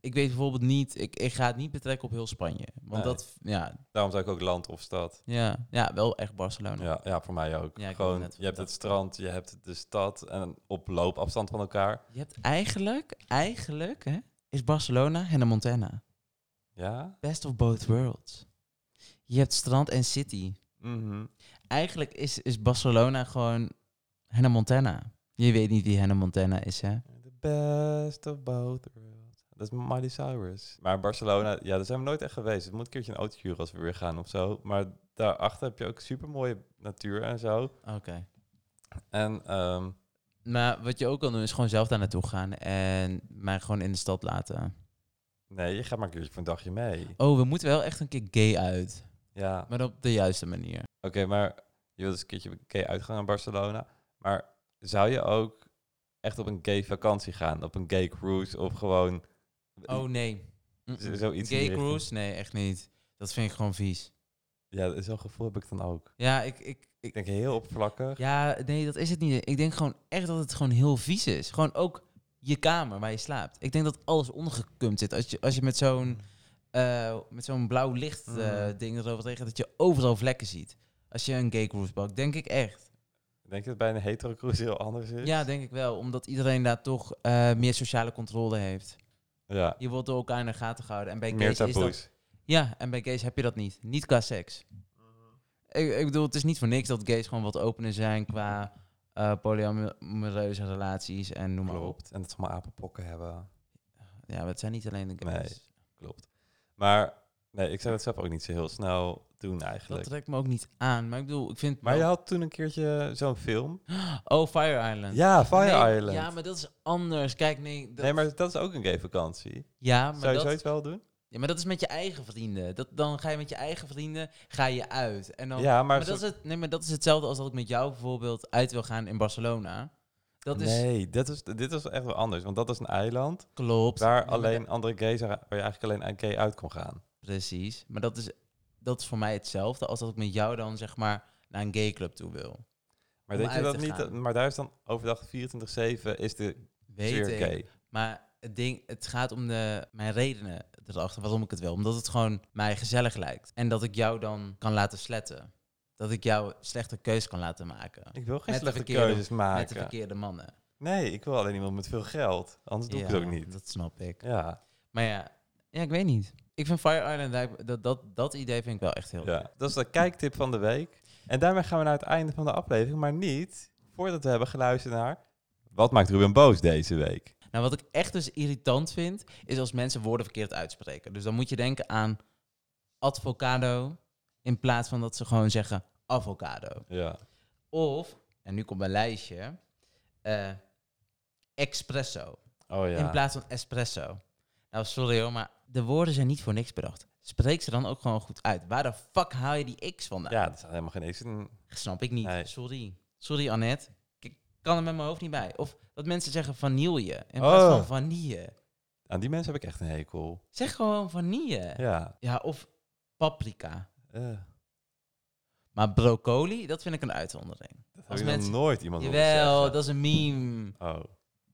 Speaker 2: Ik weet bijvoorbeeld niet, ik, ik ga het niet betrekken op heel Spanje. Want
Speaker 1: Nee.
Speaker 2: dat, ja,
Speaker 1: Daarom zou ik ook land of stad.
Speaker 2: ja, ja, wel echt Barcelona.
Speaker 1: Ja, ja, voor mij ook.
Speaker 2: Ja, ik wou
Speaker 1: Gewoon,
Speaker 2: net
Speaker 1: je hebt
Speaker 2: dat-
Speaker 1: het strand, je hebt de stad en op loopafstand van elkaar.
Speaker 2: Je hebt eigenlijk, eigenlijk, hè, is Barcelona en de Montana.
Speaker 1: Ja?
Speaker 2: Best of both worlds. Je hebt strand en city.
Speaker 1: Mhm.
Speaker 2: Eigenlijk is, is Barcelona gewoon Hannah Montana. Je weet niet wie Hannah Montana is, hè?
Speaker 1: The best of both worlds. Dat is Miley Cyrus. Maar Barcelona, ja, daar zijn we nooit echt geweest. Het moet een keertje een auto huren als we weer gaan of zo. Maar daarachter heb je ook super mooie natuur en zo.
Speaker 2: Oké.
Speaker 1: En ehm,
Speaker 2: Maar wat je ook kan doen is gewoon zelf daar naartoe gaan en mij gewoon in de stad laten.
Speaker 1: nee, je gaat maar een keertje voor een dagje mee.
Speaker 2: Oh, we moeten wel echt een keer gay uit.
Speaker 1: Ja, oké,
Speaker 2: Maar op de juiste manier.
Speaker 1: maar je wilt dus een keertje een keer uitgaan naar Barcelona. Maar zou je ook echt op een gay vakantie gaan. Op een gay cruise of gewoon...
Speaker 2: Oh nee.
Speaker 1: Z- zoiets in
Speaker 2: Gay
Speaker 1: die richting.
Speaker 2: cruise? Nee, echt niet. Dat vind ik gewoon vies.
Speaker 1: Ja, zo'n gevoel heb ik dan ook.
Speaker 2: Ja, ik, ik,
Speaker 1: Ik denk heel oppervlakkig.
Speaker 2: ja, nee, dat is het niet. Ik denk gewoon echt dat het gewoon heel vies is. Gewoon ook je kamer waar je slaapt. Ik denk dat alles ondergekumd zit. Als je, als je met zo'n eh, met zo'n blauw licht eh,
Speaker 1: Mm.
Speaker 2: ding erover tegen dat je overal vlekken ziet. Als je een gay cruise pakt, denk ik echt.
Speaker 1: Denk je dat bij een hetero cruise heel anders is?
Speaker 2: Ja, denk ik wel. Omdat iedereen daar toch eh, meer sociale controle heeft.
Speaker 1: Ja,
Speaker 2: Je wordt door elkaar in de gaten gehouden. En bij
Speaker 1: meer
Speaker 2: gays is dat
Speaker 1: taboes.
Speaker 2: Ja, en bij gays heb je dat niet. Niet qua seks.
Speaker 1: Mhm.
Speaker 2: Ik, ik bedoel, het is niet voor niks dat gays gewoon wat opener zijn qua eh polyamoreuze relaties en noem maar op.
Speaker 1: Klopt. En dat ze allemaal apenpokken hebben.
Speaker 2: Ja, maar het zijn niet alleen de gays.
Speaker 1: Nee, Klopt. Maar nee, ik zou dat zelf ook niet zo heel snel doen
Speaker 2: dat
Speaker 1: eigenlijk.
Speaker 2: trekt me ook niet aan. Maar ik bedoel, ik vind...
Speaker 1: Maar je had toen een keertje zo'n film.
Speaker 2: Oh, Fire Island.
Speaker 1: Ja, Fire
Speaker 2: Nee,
Speaker 1: Island.
Speaker 2: Ja, maar dat is anders. Kijk, nee... dat-
Speaker 1: Nee, maar dat is ook een gay vakantie.
Speaker 2: ja, maar
Speaker 1: Zou je
Speaker 2: dat,
Speaker 1: zoiets wel doen?
Speaker 2: ja, maar dat is met je eigen vrienden. Dat, dan ga je met je eigen vrienden ga je uit. En dan,
Speaker 1: ja, maar,
Speaker 2: maar, dat is
Speaker 1: zo-
Speaker 2: het, nee, maar dat is hetzelfde als dat ik met jou bijvoorbeeld uit wil gaan in Barcelona. Dat is...
Speaker 1: Nee, dit is, dit is echt wel anders. Want dat is een eiland
Speaker 2: Klopt.
Speaker 1: waar
Speaker 2: Nee, maar
Speaker 1: alleen andere gays... Waar je eigenlijk alleen aan gay uit kon gaan.
Speaker 2: Precies. Maar dat is, dat is voor mij hetzelfde als dat ik met jou dan zeg maar naar een gay club toe wil.
Speaker 1: Maar,
Speaker 2: Om
Speaker 1: weet je
Speaker 2: uit
Speaker 1: dat
Speaker 2: te
Speaker 1: niet?
Speaker 2: gaan.
Speaker 1: Maar daar is dan overdag 24-7 is de
Speaker 2: Weet
Speaker 1: zeer
Speaker 2: ik.
Speaker 1: gay.
Speaker 2: Maar het ding, het gaat om de, mijn redenen erachter waarom ik het wil. Omdat het gewoon mij gezellig lijkt. En dat ik jou dan kan laten sletten. Dat ik jou slechte keus kan laten maken.
Speaker 1: Ik wil geen
Speaker 2: Met de
Speaker 1: slechte
Speaker 2: verkeerde-
Speaker 1: keuzes
Speaker 2: Met de
Speaker 1: maken.
Speaker 2: verkeerde mannen.
Speaker 1: Nee, ik wil alleen iemand met veel geld. Anders doe ik het
Speaker 2: Ja,
Speaker 1: ook niet.
Speaker 2: Dat snap ik.
Speaker 1: Ja,
Speaker 2: Maar ja, ja, ik weet niet. Ik vind Fire Island, lijkt- dat, dat, dat idee vind ik wel echt heel
Speaker 1: ja. Dat is de kijktip van de week. En daarmee gaan we naar het einde van de aflevering. Maar niet voordat we hebben geluisterd naar... Wat maakt Ruben boos deze week?
Speaker 2: Nou, wat ik echt dus irritant vind, is als mensen woorden verkeerd uitspreken. Dus dan moet je denken aan advocado in plaats van dat ze gewoon zeggen avocado.
Speaker 1: Ja.
Speaker 2: Of, en nu komt mijn lijstje, eh, espresso
Speaker 1: Oh ja.
Speaker 2: in plaats van espresso. Nou, sorry hoor, maar de woorden zijn niet voor niks bedacht. Spreek ze dan ook gewoon goed uit. Waar de fuck haal je die x vandaan?
Speaker 1: Ja, dat staat helemaal geen eens in.
Speaker 2: Snap ik niet.
Speaker 1: Nee.
Speaker 2: Sorry. Sorry Annette. Ik kan er met mijn hoofd niet bij. Of dat mensen zeggen vanille
Speaker 1: Oh.
Speaker 2: in plaats van vanille.
Speaker 1: Aan die mensen heb ik echt een hekel.
Speaker 2: Zeg gewoon vanille. Ja,
Speaker 1: Ja.
Speaker 2: of paprika.
Speaker 1: eh,
Speaker 2: Maar broccoli, dat vind ik een uitzondering.
Speaker 1: dat heb
Speaker 2: Als
Speaker 1: ik
Speaker 2: mensen-
Speaker 1: nog nooit iemand horen
Speaker 2: Jawel,
Speaker 1: zeggen.
Speaker 2: dat is een meme.
Speaker 1: Oh,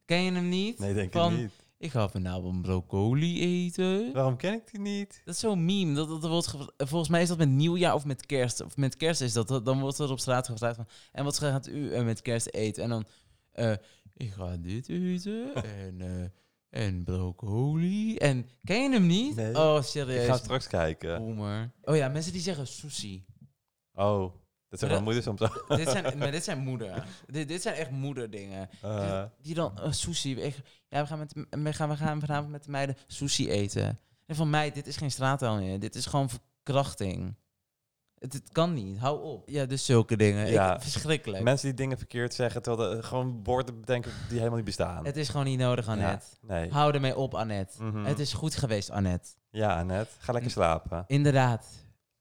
Speaker 2: Ken je hem niet?
Speaker 1: nee, denk
Speaker 2: Van-
Speaker 1: ik niet.
Speaker 2: Ik ga vanavond broccoli eten.
Speaker 1: Waarom ken ik die niet?
Speaker 2: Dat is zo'n meme. Dat, dat, wordt ge- volgens mij is dat met nieuwjaar of met kerst. Of met kerst is dat. dat- Dan wordt er op straat gevraagd van... En wat gaat u eh, met kerst eten? En dan... eh, ik ga
Speaker 1: [LAUGHS]
Speaker 2: dit eten. en, eh, en broccoli. En ken je hem niet?
Speaker 1: Nee.
Speaker 2: Oh,
Speaker 1: Ik ga
Speaker 2: serieus.
Speaker 1: straks kijken.
Speaker 2: Boomer. Oh ja, mensen die zeggen sushi.
Speaker 1: Oh, dat zijn mijn moeder soms
Speaker 2: [LAUGHS]
Speaker 1: ook.
Speaker 2: dit, zijn, maar dit zijn moeder. Dit, dit zijn echt moederdingen.
Speaker 1: Eh,
Speaker 2: Die dan eh, sushi. Ik- ja, we gaan, met, we, gaan, we gaan vanavond met de meiden sushi eten. En van mij, dit is geen straattaal meer. Dit is gewoon verkrachting. Het, het kan niet. Hou op. Ja, dus zulke dingen.
Speaker 1: Ja.
Speaker 2: Ik, verschrikkelijk.
Speaker 1: Mensen die dingen verkeerd zeggen, terwijl er gewoon woorden bedenken die helemaal niet bestaan.
Speaker 2: Het is gewoon niet nodig, Annette.
Speaker 1: Ja, nee.
Speaker 2: Hou ermee op, Annette.
Speaker 1: Mhm.
Speaker 2: Het is Mm. goed geweest, Annette.
Speaker 1: Ja, Annette, ga lekker slapen.
Speaker 2: Inderdaad.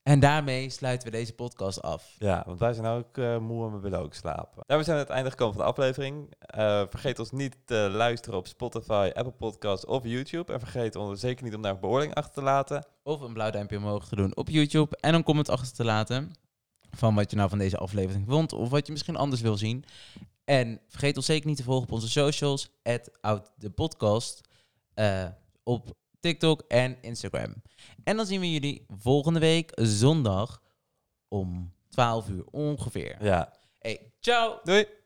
Speaker 2: En daarmee sluiten we deze podcast af.
Speaker 1: Ja, want wij zijn ook eh, moe en we willen ook slapen. Daarmee zijn we aan het einde gekomen van de aflevering. Eh, vergeet ons niet te luisteren op Spotify, Apple Podcasts of YouTube. En vergeet ons zeker niet om daar een beoordeling achter te laten.
Speaker 2: Of een blauw duimpje omhoog te doen op YouTube. En een comment achter te laten. Van wat je nou van deze aflevering vond. Of wat je misschien anders wil zien. En vergeet ons zeker niet te volgen op onze socials. At podcast. eh, op TikTok en Instagram. En dan zien we jullie volgende week zondag om 12 uur ongeveer.
Speaker 1: Ja,
Speaker 2: Hey, ciao!
Speaker 1: doei!